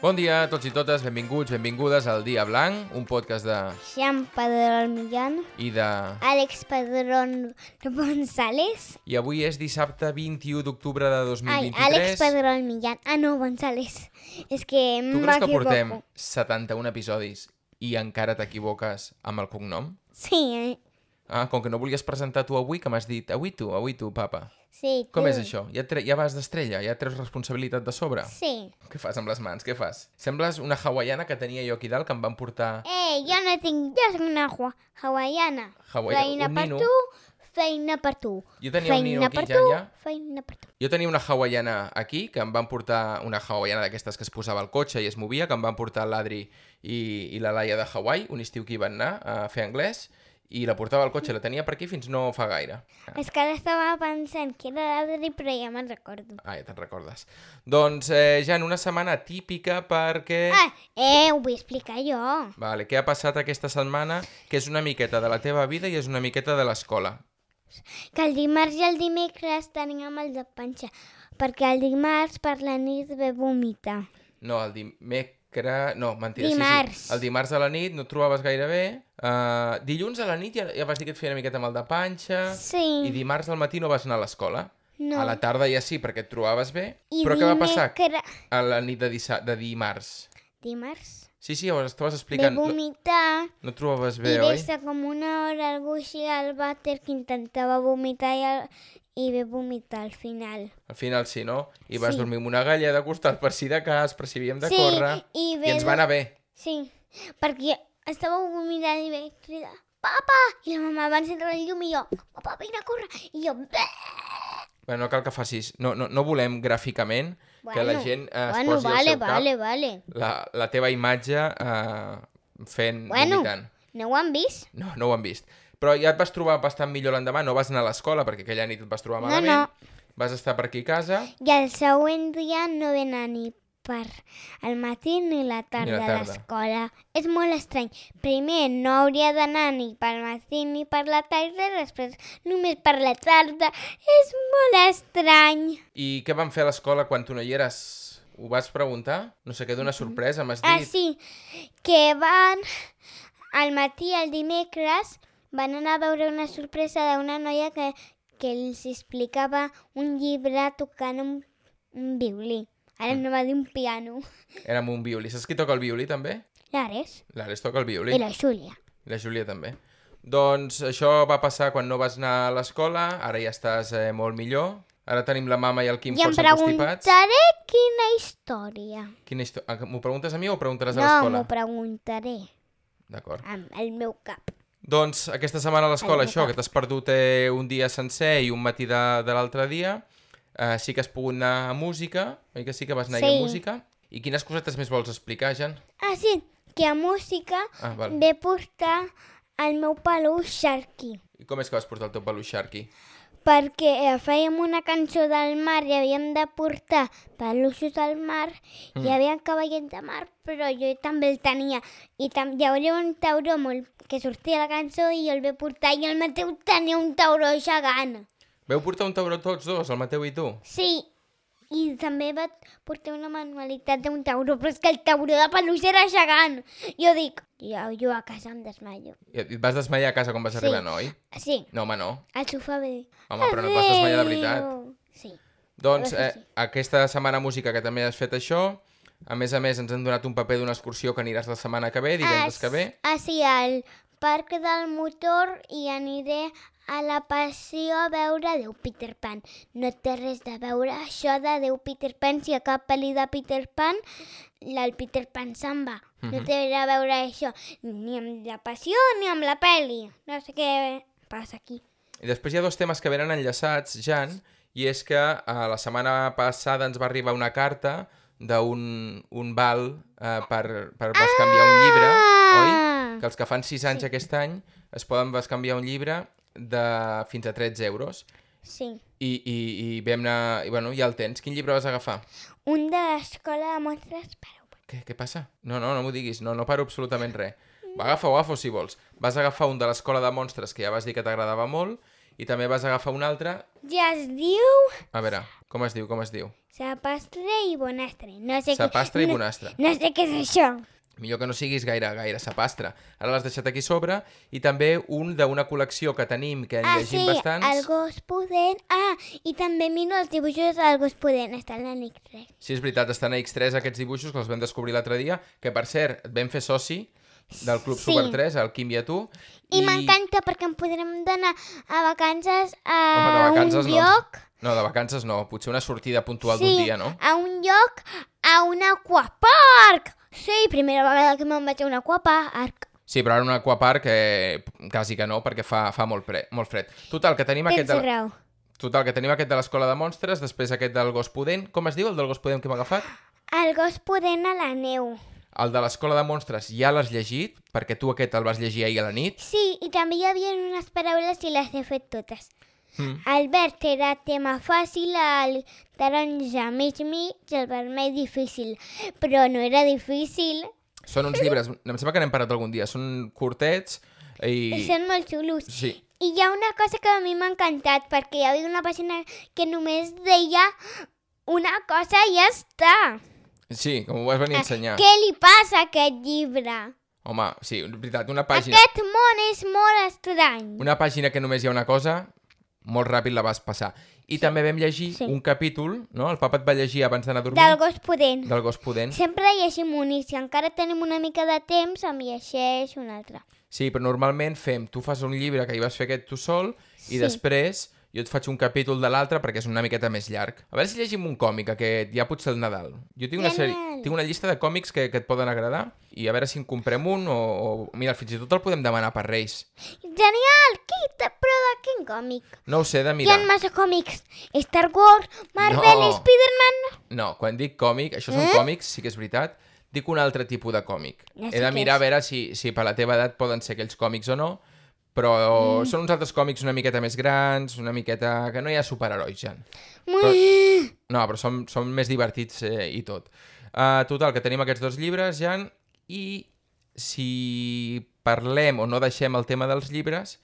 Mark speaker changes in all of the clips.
Speaker 1: Bon dia a tots i totes, benvinguts, benvingudes al Dia Blanc, un podcast de...
Speaker 2: Jean Padrón Millán,
Speaker 1: i de...
Speaker 2: Àlex Padrón González.
Speaker 1: I avui és dissabte 21 d'octubre de
Speaker 2: Ay,
Speaker 1: 2023.
Speaker 2: Àlex Padrón Millán. Ah, no, González. Es que
Speaker 1: Tu creus que
Speaker 2: m'equivoco.
Speaker 1: portem 71 episodis i encara t'equivoques amb el cognom?
Speaker 2: Sí, eh?
Speaker 1: Ah, com que no volies presentar tu avui, que m'has dit avui tu, avui tu, papa.
Speaker 2: Sí,
Speaker 1: Com
Speaker 2: tu.
Speaker 1: és això? Ja, tre... ja vas d'estrella, ja treus responsabilitat de sobre.
Speaker 2: Sí.
Speaker 1: Què fas amb les mans? Què fas? Sembles una hawaiana que tenia jo aquí dalt, que em van portar...
Speaker 2: Eh, jo no tinc... Jo soc una hua- hawaiana.
Speaker 1: Hawaia-
Speaker 2: Eh, feina
Speaker 1: Ah, un
Speaker 2: per
Speaker 1: nino.
Speaker 2: tu, feina per tu.
Speaker 1: Jo tenia un
Speaker 2: feina
Speaker 1: nino aquí,
Speaker 2: per
Speaker 1: ja,
Speaker 2: tu,
Speaker 1: ja.
Speaker 2: feina per tu.
Speaker 1: Jo tenia una hawaiana aquí, que em van portar una hawaiana d'aquestes que es posava al cotxe i es movia, que em van portar l'Adri i, i la Laia de Hawaii, un estiu que hi van anar a fer anglès, i la portava al cotxe, la tenia per aquí fins no fa gaire.
Speaker 2: És que ara estava pensant que era l'Adri, però ja me'n recordo.
Speaker 1: Ah, ja te'n recordes. Doncs, eh, Jan, una setmana típica perquè...
Speaker 2: Ah, eh, ho vull explicar jo.
Speaker 1: Vale, què ha passat aquesta setmana que és una miqueta de la teva vida i és una miqueta de l'escola?
Speaker 2: Que el dimarts i el dimecres teníem el de panxa, perquè el dimarts per la nit ve vomitar.
Speaker 1: No, el dimecres... No, mentida, sí,
Speaker 2: Dimarts.
Speaker 1: sí. El dimarts a la nit no et trobaves gaire bé. Uh, dilluns a la nit ja, ja vas dir que et feia una miqueta mal de panxa. I
Speaker 2: Sí,
Speaker 1: dimarts al matí no vas anar a l'escola.
Speaker 2: No.
Speaker 1: A la tarda ja sí, perquè et trobaves bé.
Speaker 2: I
Speaker 1: Però què va passar
Speaker 2: dimecres-
Speaker 1: a la nit de, dissa... de dimarts?
Speaker 2: dimarts
Speaker 1: Sí, sí, llavors estaves
Speaker 2: ve
Speaker 1: explicant... No,
Speaker 2: vomitar
Speaker 1: no et trobaves
Speaker 2: i
Speaker 1: bé,
Speaker 2: ve
Speaker 1: oi?
Speaker 2: estar com una hora algú així al vàter que intentava vomitar i, el, i ve vomitar al final.
Speaker 1: Al final sí, no? I vas
Speaker 2: Sí.
Speaker 1: dormir amb una galla de costat per si de cas, per si havíem de
Speaker 2: Sí,
Speaker 1: córrer.
Speaker 2: i ve
Speaker 1: I ens
Speaker 2: de-
Speaker 1: va anar bé.
Speaker 2: Sí, perquè estava vomitant i vaig cridar, papa! I la mamà va encendre el llum i jo, papa, vine a córrer! I jo, bé!
Speaker 1: Bé, no cal que facis... No, no, no volem gràficament que la
Speaker 2: Bueno,
Speaker 1: gent eh, es
Speaker 2: bueno,
Speaker 1: posi al
Speaker 2: vale,
Speaker 1: seu cap
Speaker 2: vale, vale.
Speaker 1: la, la teva imatge eh, fent
Speaker 2: Bueno.
Speaker 1: vomitant.
Speaker 2: No ho han vist?
Speaker 1: No, no ho han vist. Però ja et vas trobar bastant millor l'endemà, no vas anar a l'escola perquè aquella nit et vas trobar
Speaker 2: No,
Speaker 1: malament. Vas estar per aquí a casa
Speaker 2: I el següent dia no ve anar ni per al matí ni la tarda, a
Speaker 1: tarda.
Speaker 2: l'escola. És molt estrany. Primer no hauria d'anar ni pel matí ni per la tarda, després només per la tarda. És molt estrany.
Speaker 1: i què van fer a l'escola quan tu no hi eres? Ho vas preguntar? No sé què, d'una sorpresa, m'has
Speaker 2: Ah,
Speaker 1: dit.
Speaker 2: sí, que van al matí, el dimecres, van anar a veure una sorpresa d'una noia que, que els explicava un llibre tocant un, un violí. Ara no va dir un piano.
Speaker 1: Era amb un violí. Saps qui toca el violí, també?
Speaker 2: L'Ares
Speaker 1: L'Ares toca el violí.
Speaker 2: i la Júlia.
Speaker 1: La Júlia també. Doncs això va passar quan no vas anar a l'escola, ara ja estàs eh, molt millor. Ara tenim la mama i el Quim
Speaker 2: I em
Speaker 1: força constipats.
Speaker 2: preguntaré quina història.
Speaker 1: Quina histo- ah, M'ho preguntes a mi o ho preguntaràs a
Speaker 2: No,
Speaker 1: l'escola?
Speaker 2: m'ho preguntaré
Speaker 1: D'acord.
Speaker 2: amb el meu cap.
Speaker 1: Doncs aquesta setmana a l'escola,
Speaker 2: Ai,
Speaker 1: això, que t'has perdut eh, un dia sencer i un matí de, de l'altre dia, eh, sí que has pogut anar a música, oi que sí que vas anar sí. a
Speaker 2: Sí.
Speaker 1: música? I quines cosetes més vols explicar, Jan?
Speaker 2: Ah, sí, que a música
Speaker 1: Ah, val.
Speaker 2: ve portar el meu peluix Sharky.
Speaker 1: I com és que vas portar el teu peluix Sharky?
Speaker 2: Perquè eh, fèiem una cançó del mar i havíem de portar peluixos del mar
Speaker 1: Mm.
Speaker 2: i hi havia cavallets de mar, però jo també el tenia. I tam hi hauria un tauró molt que sortia a la cançó i jo el ve portar i el Mateu tenia un tauró gegant.
Speaker 1: Veu portar un tauró tots dos, el Mateu i tu?
Speaker 2: Sí, i també va portar una manualitat d'un tauró, però és que el tauró de peluix era gegant. Jo dic, jo, jo a casa em desmallo.
Speaker 1: I et vas desmaiar a casa quan vas
Speaker 2: Sí.
Speaker 1: arribar, no, oi?
Speaker 2: Sí,
Speaker 1: No, home, no.
Speaker 2: al sofà va dir...
Speaker 1: Home, però no et vas desmaiar de veritat.
Speaker 2: "Adéu". Sí.
Speaker 1: Doncs eh,
Speaker 2: Ara sí,
Speaker 1: aquesta setmana música que també has fet això, a més a més ens han donat un paper d'una excursió que aniràs la setmana que ve, divendres que ve.
Speaker 2: Ah, sí, al Parc del Motor i aniré a la passió a veure Déu Peter Pan. No té res de veure això de Déu Peter Pan si a cap pel·li de Peter Pan la- el Peter Pan se'n va.
Speaker 1: Mhm.
Speaker 2: No té res a veure això ni amb la passió ni amb la pel·li. No sé què passa aquí.
Speaker 1: I després hi ha dos temes que venen enllaçats, Jan, i és que eh, la setmana passada ens va arribar una carta d'un un val eh, per, per bescanviar un llibre, oi? Que els que fan 6 anys aquest any es poden bescanviar un llibre de fins a 13 euros.
Speaker 2: Sí.
Speaker 1: I, i, i vam anar... I, bueno, ja el tens. Quin llibre vas agafar?
Speaker 2: Un de l'escola de monstres per
Speaker 1: Què, què passa? No, no, no m'ho diguis. No, no paro absolutament res. Va, agafa o agafo si vols. Vas agafar un de l'escola de monstres que ja vas dir que t'agradava molt I també vas agafar un altre.
Speaker 2: Ja es diu
Speaker 1: A veure, com es diu, com es diu?
Speaker 2: Sapastre i Bonastre. No sé
Speaker 1: Sapastre
Speaker 2: què...
Speaker 1: i bonastre.
Speaker 2: No, no sé què és això.
Speaker 1: Millor que no siguis gaire, gaire sapastre. Ara l'has deixat aquí sobre. I també un d'una col·lecció que tenim, que en
Speaker 2: Ah, sí,
Speaker 1: llegim bastants.
Speaker 2: el gos pudent. Ah, i també miro els dibuixos del gos pudent. Està a l'Enix
Speaker 1: Sí, és veritat, estan a X3 aquests dibuixos que els vam descobrir l'altre dia, que per cert, et vam fer soci del Club
Speaker 2: Sí.
Speaker 1: Super 3, el Quim i a tu.
Speaker 2: I, m'encanta perquè en podrem d'anar a vacances a
Speaker 1: Home, de vacances
Speaker 2: un
Speaker 1: no.
Speaker 2: lloc.
Speaker 1: No, de vacances no, potser una sortida puntual
Speaker 2: sí,
Speaker 1: d'un dia, no?
Speaker 2: a un lloc, a un aquapark. Sí, primera vegada que me'n vaig a un aquapark.
Speaker 1: Sí, però ara un aquapark eh, quasi que no, perquè fa, fa molt, pre, molt fred. Total, que tenim aquest...
Speaker 2: Tens
Speaker 1: De, la-
Speaker 2: raó.
Speaker 1: total, que tenim aquest de l'escola de monstres, després aquest del gos pudent. Com es diu el del gos pudent que hem agafat?
Speaker 2: El gos pudent a la neu.
Speaker 1: El de l'escola de monstres ja l'has llegit, perquè tu aquest el vas llegir ahir a la nit.
Speaker 2: Sí, i també hi havia unes paraules i les he fet totes.
Speaker 1: Mm.
Speaker 2: El verd era tema fàcil, el taronja mig mig, el vermell difícil. Però no era difícil.
Speaker 1: Són uns llibres, em sembla que n'hem parat algun dia, són curtets
Speaker 2: I...
Speaker 1: i...
Speaker 2: Són molt xulos.
Speaker 1: Sí,
Speaker 2: I hi ha una cosa que a mi m'ha encantat, perquè hi havia una pàgina que només deia una cosa i ja està.
Speaker 1: Sí, com ho vas venir a ensenyar.
Speaker 2: Què li passa a aquest llibre?
Speaker 1: Home, sí, és veritat, una pàgina,
Speaker 2: Aquest món és molt estrany.
Speaker 1: una pàgina que només hi ha una cosa, molt ràpid la vas passar. I també vam llegir
Speaker 2: sí.
Speaker 1: un capítol, no? El papa et va llegir abans d'anar a dormir,
Speaker 2: Del gos pudent.
Speaker 1: del gos pudent.
Speaker 2: Sempre llegim un i si encara tenim una mica de temps em llegeix un altre.
Speaker 1: Sí, però normalment fem, tu fas un llibre que hi vas fer aquest tu sol, i
Speaker 2: Sí.
Speaker 1: després jo et faig un capítol de l'altre perquè és una miqueta més llarg. A veure si llegim un còmic, aquest, ja potser el Nadal. Jo tinc una, sèrie,
Speaker 2: Genial.
Speaker 1: tinc una llista de còmics que, que et poden agradar, i a veure si en comprem un, o, o mira, fins i tot el podem demanar per Reis.
Speaker 2: Genial! Qui te prova quin còmic?
Speaker 1: No ho sé de
Speaker 2: Hi ha
Speaker 1: mirar.
Speaker 2: massa còmics. Star Wars, Marvel,
Speaker 1: No.
Speaker 2: no. Spider-Man...
Speaker 1: No, quan dic còmic, això són còmics, sí que és veritat, dic un altre tipus de còmic.
Speaker 2: Eh? Ja sé
Speaker 1: He de
Speaker 2: què
Speaker 1: mirar
Speaker 2: és.
Speaker 1: a veure si, si per la teva edat poden ser aquells còmics o no, però mm. són uns altres còmics una miqueta més grans, una miqueta... que no hi ha superherois, Jan.
Speaker 2: Però...
Speaker 1: No, però són, són més divertits eh, i tot. Uh, total, que tenim aquests dos llibres, Jan, i si parlem o no deixem el tema dels llibres,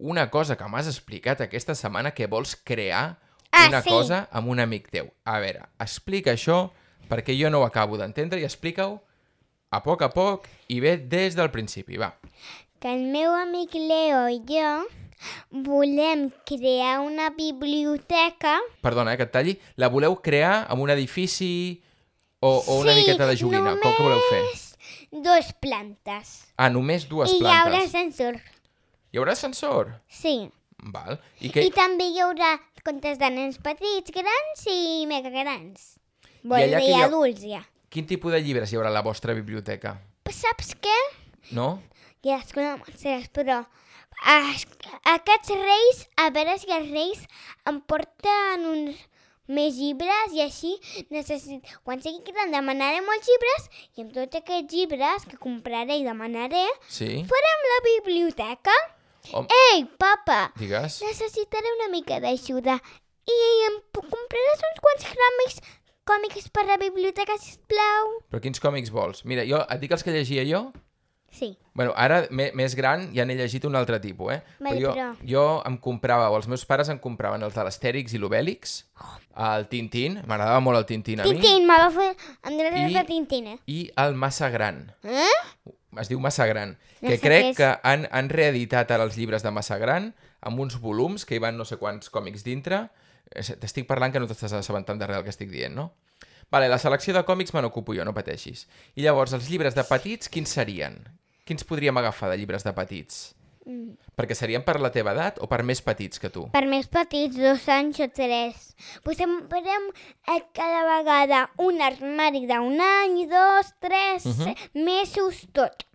Speaker 1: una cosa que m'has explicat aquesta setmana que vols crear
Speaker 2: Ah,
Speaker 1: una
Speaker 2: sí.
Speaker 1: cosa amb un amic teu. A veure, explica això perquè jo no ho acabo d'entendre i explica-ho a poc a poc i bé des del principi, va.
Speaker 2: que el meu amic Leo i jo volem crear una biblioteca
Speaker 1: Perdona, eh, que et talli. La voleu crear amb un edifici o, o una
Speaker 2: Sí,
Speaker 1: miqueta de joguina? Com que voleu fer?
Speaker 2: dos plantes.
Speaker 1: Ah, només dues
Speaker 2: I hi haurà
Speaker 1: plantes.
Speaker 2: ascensor,
Speaker 1: Hi haurà ascensor?
Speaker 2: sí.
Speaker 1: Val. I,
Speaker 2: Que...
Speaker 1: que...
Speaker 2: I també hi haurà contes de nens petits, grans i mega grans. Vol
Speaker 1: allà
Speaker 2: dir
Speaker 1: que hi ha-
Speaker 2: adults, ja.
Speaker 1: quin tipus de llibres hi haurà a la vostra biblioteca?
Speaker 2: Però saps què?
Speaker 1: No?
Speaker 2: Ja es coneixes, però es- aquests reis, a veure si els reis em porten uns més llibres i així necessit... quan sigui gran demanaré molts llibres i amb tots aquests llibres que compraré i demanaré
Speaker 1: Sí?
Speaker 2: farem la biblioteca.
Speaker 1: Hom-
Speaker 2: Ei, papa,
Speaker 1: Digues?
Speaker 2: necessitaré una mica d'ajuda i em pu- compraràs uns quants gràmics còmics per la biblioteca, sisplau?
Speaker 1: Però quins còmics vols? Mira, jo et dic els que llegia jo.
Speaker 2: Sí.
Speaker 1: Bueno, ara, me- més gran, ja n'he llegit un altre tipus, eh?
Speaker 2: Vale,
Speaker 1: jo,
Speaker 2: però-
Speaker 1: jo em comprava, o els meus pares em compraven els de l'Astèrix i l'Obèlix, el Tintín, m'agradava molt el Tintín a mi,
Speaker 2: Tintín, me va fer... Em donaràs
Speaker 1: I-
Speaker 2: I... la Tintina.
Speaker 1: i el Massa Gran.
Speaker 2: Eh?
Speaker 1: es diu Massa Gran,
Speaker 2: No
Speaker 1: que
Speaker 2: sé
Speaker 1: crec
Speaker 2: què és.
Speaker 1: que han, han reeditat ara els llibres de Massa Gran amb uns volums que hi van no sé quants còmics dintre. Eh, T'estic parlant que no t'estàs assabentant de res del que estic dient, no? Vale, la selecció de còmics me n'ocupo jo, no pateixis. I llavors, els llibres de petits, quins serien? Quins podríem agafar de llibres de petits?
Speaker 2: Mm.
Speaker 1: Perquè serien per la teva edat o per més petits que tu?
Speaker 2: Per més petits, dos anys o tres. Posem, posem eh, cada vegada un armari d'un any, dos, tres, uh
Speaker 1: Mhm.
Speaker 2: -huh. mesos, tot.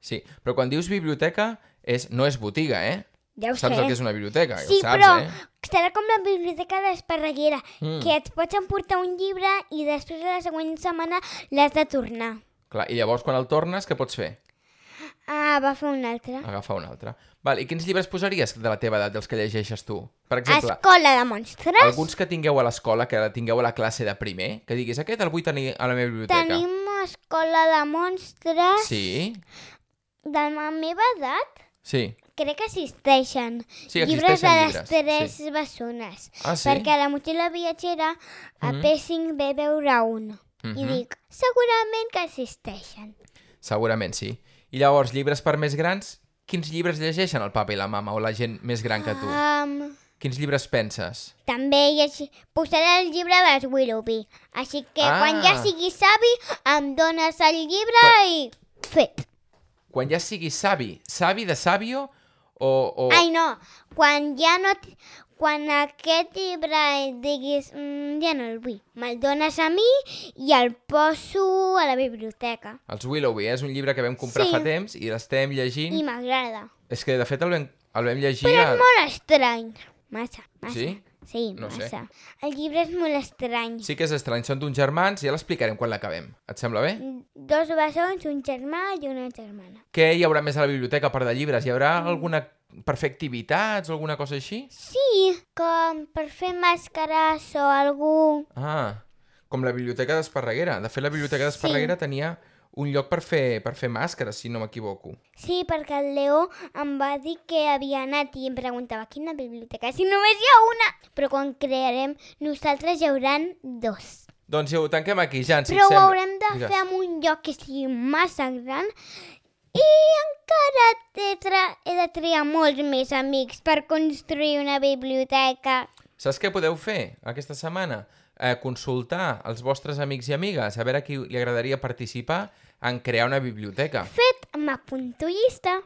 Speaker 1: Sí, però quan dius biblioteca, és, no és botiga, eh?
Speaker 2: Ja ho
Speaker 1: Saps
Speaker 2: sé.
Speaker 1: el que és una biblioteca, ja
Speaker 2: sí,
Speaker 1: ho saps,
Speaker 2: però
Speaker 1: eh?
Speaker 2: serà com la biblioteca d'Esparreguera,
Speaker 1: Mm.
Speaker 2: mm. que et pots emportar un llibre i després la següent setmana l'has de tornar.
Speaker 1: Clar, i llavors quan el tornes, què pots fer?
Speaker 2: Ah, va fer un altre.
Speaker 1: Agafar un altre. Val, I quins llibres posaries de la teva edat, dels que llegeixes tu? Per exemple,
Speaker 2: Escola de monstres.
Speaker 1: alguns que tingueu a l'escola, que tingueu a la classe de primer, que diguis, aquest el vull tenir a la meva biblioteca.
Speaker 2: Tenim escola de monstres
Speaker 1: Sí,
Speaker 2: de la meva edat.
Speaker 1: sí.
Speaker 2: crec que existeixen.
Speaker 1: Sí,
Speaker 2: llibres de
Speaker 1: existeixen
Speaker 2: les
Speaker 1: llibres,
Speaker 2: tres
Speaker 1: sí.
Speaker 2: bessones.
Speaker 1: Ah, sí?
Speaker 2: Perquè a la motxilla viatgera a
Speaker 1: Mhm.
Speaker 2: P5 ve veure un. I
Speaker 1: Mhm.
Speaker 2: dic, segurament que existeixen.
Speaker 1: Segurament sí. I llavors, llibres per més grans, quins llibres llegeixen el papa i la mama o la gent més gran que tu?
Speaker 2: Um,
Speaker 1: Quins llibres penses?
Speaker 2: també llegir... posaré el llibre dels Willoughby. Així que
Speaker 1: Ah.
Speaker 2: quan ja sigui savi, em dones el llibre i... Fet.
Speaker 1: Quan ja siguis savi, savi de sàvio o... o...
Speaker 2: Ai, no. Quan ja no... t- Quan aquest llibre diguis... "Mm, ja no el vull. Me'l dones a mi i el poso a la biblioteca.
Speaker 1: Els Willoughby, eh? és un llibre que vam comprar
Speaker 2: Sí.
Speaker 1: fa temps i l'estem llegint.
Speaker 2: I m'agrada.
Speaker 1: És que, de fet, el vam, el vam llegir... a-
Speaker 2: Molt estrany. Massa, massa.
Speaker 1: Sí?
Speaker 2: Sí,
Speaker 1: No sé.
Speaker 2: massa. El llibre és molt estrany.
Speaker 1: Sí que és estrany, són d'uns germans, ja l'explicarem quan l'acabem. Et sembla bé?
Speaker 2: Dos bessons, un germà i una germana.
Speaker 1: Què hi haurà més a la biblioteca per de llibres? Hi haurà
Speaker 2: Mm.
Speaker 1: alguna per fer activitats o alguna cosa així?
Speaker 2: Sí, com per fer màscares o algú...
Speaker 1: Ah, com la biblioteca d'Esparreguera. De fet, la biblioteca d'Esparreguera tenia un lloc per fer, per fer màscares, si no m'equivoco.
Speaker 2: Sí, perquè el Leó em va dir que havia anat i em preguntava quina biblioteca, si només hi ha una. Però quan crearem, nosaltres hi hauran dos.
Speaker 1: Doncs ja ho tanquem aquí, Jan, si
Speaker 2: Però
Speaker 1: et
Speaker 2: ho
Speaker 1: sembla.
Speaker 2: haurem de
Speaker 1: Digues.
Speaker 2: fer en un lloc que sigui massa gran i encara he, tra... he de triar molts més amics per construir una biblioteca.
Speaker 1: Saps què podeu fer aquesta setmana? Eh, consultar els vostres amics i amigues, a veure a qui li agradaria participar en crear una biblioteca.
Speaker 2: Fet, m'apunto llista.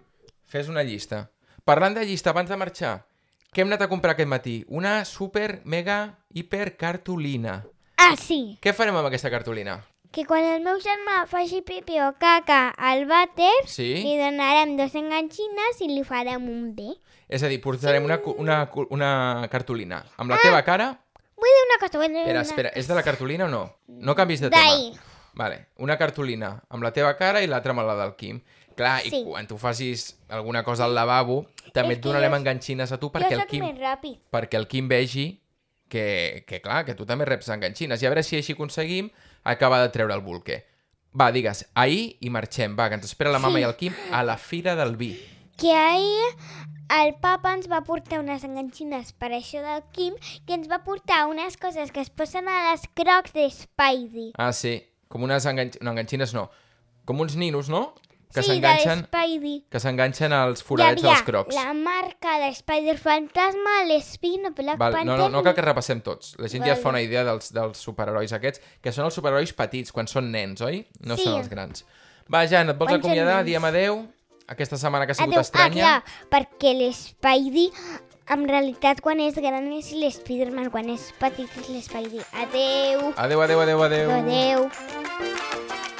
Speaker 1: Fes una llista. Parlant de llista, abans de marxar, què hem anat a comprar aquest matí? Una super, mega, hiper cartolina.
Speaker 2: Ah, sí,
Speaker 1: Què farem amb aquesta cartolina?
Speaker 2: que quan el meu germà faci pipi o caca al vàter, li
Speaker 1: Sí?
Speaker 2: donarem dos enganxines i li farem un bé.
Speaker 1: És a dir, portarem una, cu- una, cu- una cartolina amb la teva cara...
Speaker 2: Vull dir una cosa, vull dir
Speaker 1: Espera,
Speaker 2: Ah, una...
Speaker 1: espera, és de la cartolina o no? No canvis de
Speaker 2: D'ahir.
Speaker 1: tema. Vale, una cartolina amb la teva cara i l'altra amb la del Quim. Clar,
Speaker 2: Sí.
Speaker 1: i quan tu facis alguna cosa al lavabo, també
Speaker 2: És
Speaker 1: et
Speaker 2: que
Speaker 1: donarem
Speaker 2: jo-
Speaker 1: enganxines a tu
Speaker 2: Jo
Speaker 1: perquè el
Speaker 2: sóc
Speaker 1: Quim...
Speaker 2: més ràpid.
Speaker 1: perquè el Quim vegi que, que clar, que tu també reps enganxines. I a veure si així aconseguim acabar de treure el bolquer. Va, digues, ahir i marxem. Va, que ens espera la mama
Speaker 2: Sí.
Speaker 1: i el Quim a la Fira del Vi.
Speaker 2: Que ahir el papa ens va portar unes enganxines per això del Quim i ens va portar unes coses que es posen a les crocs de Spidey.
Speaker 1: Ah, sí, com unes enganxines... No, enganxines no. Com uns ninos, no? Que
Speaker 2: sí,
Speaker 1: s'enganxen
Speaker 2: de Spidey.
Speaker 1: que s'enganxen als foradets dels crocs.
Speaker 2: la marca de Spider-Fantasma, l'Espino, Black
Speaker 1: Val, no,
Speaker 2: Panther...
Speaker 1: no, no cal que repassem tots. La gent ja es fa
Speaker 2: Vale.
Speaker 1: una idea dels, dels superherois aquests, que són els superherois petits, quan són nens, oi? No
Speaker 2: Sí.
Speaker 1: són els grans. Va, Jan, et vols
Speaker 2: Quan són
Speaker 1: acomiadar?
Speaker 2: nens.
Speaker 1: Diem adeu. Aquesta setmana que ha sigut
Speaker 2: Adeu.
Speaker 1: estranya.
Speaker 2: Ah, clar, perquè l'Spidey, en realitat, quan és gran és l'Spiderman, quan és petit és l'Spidey. Adeu.
Speaker 1: Adeu, adeu, adeu, adeu.
Speaker 2: Adeu.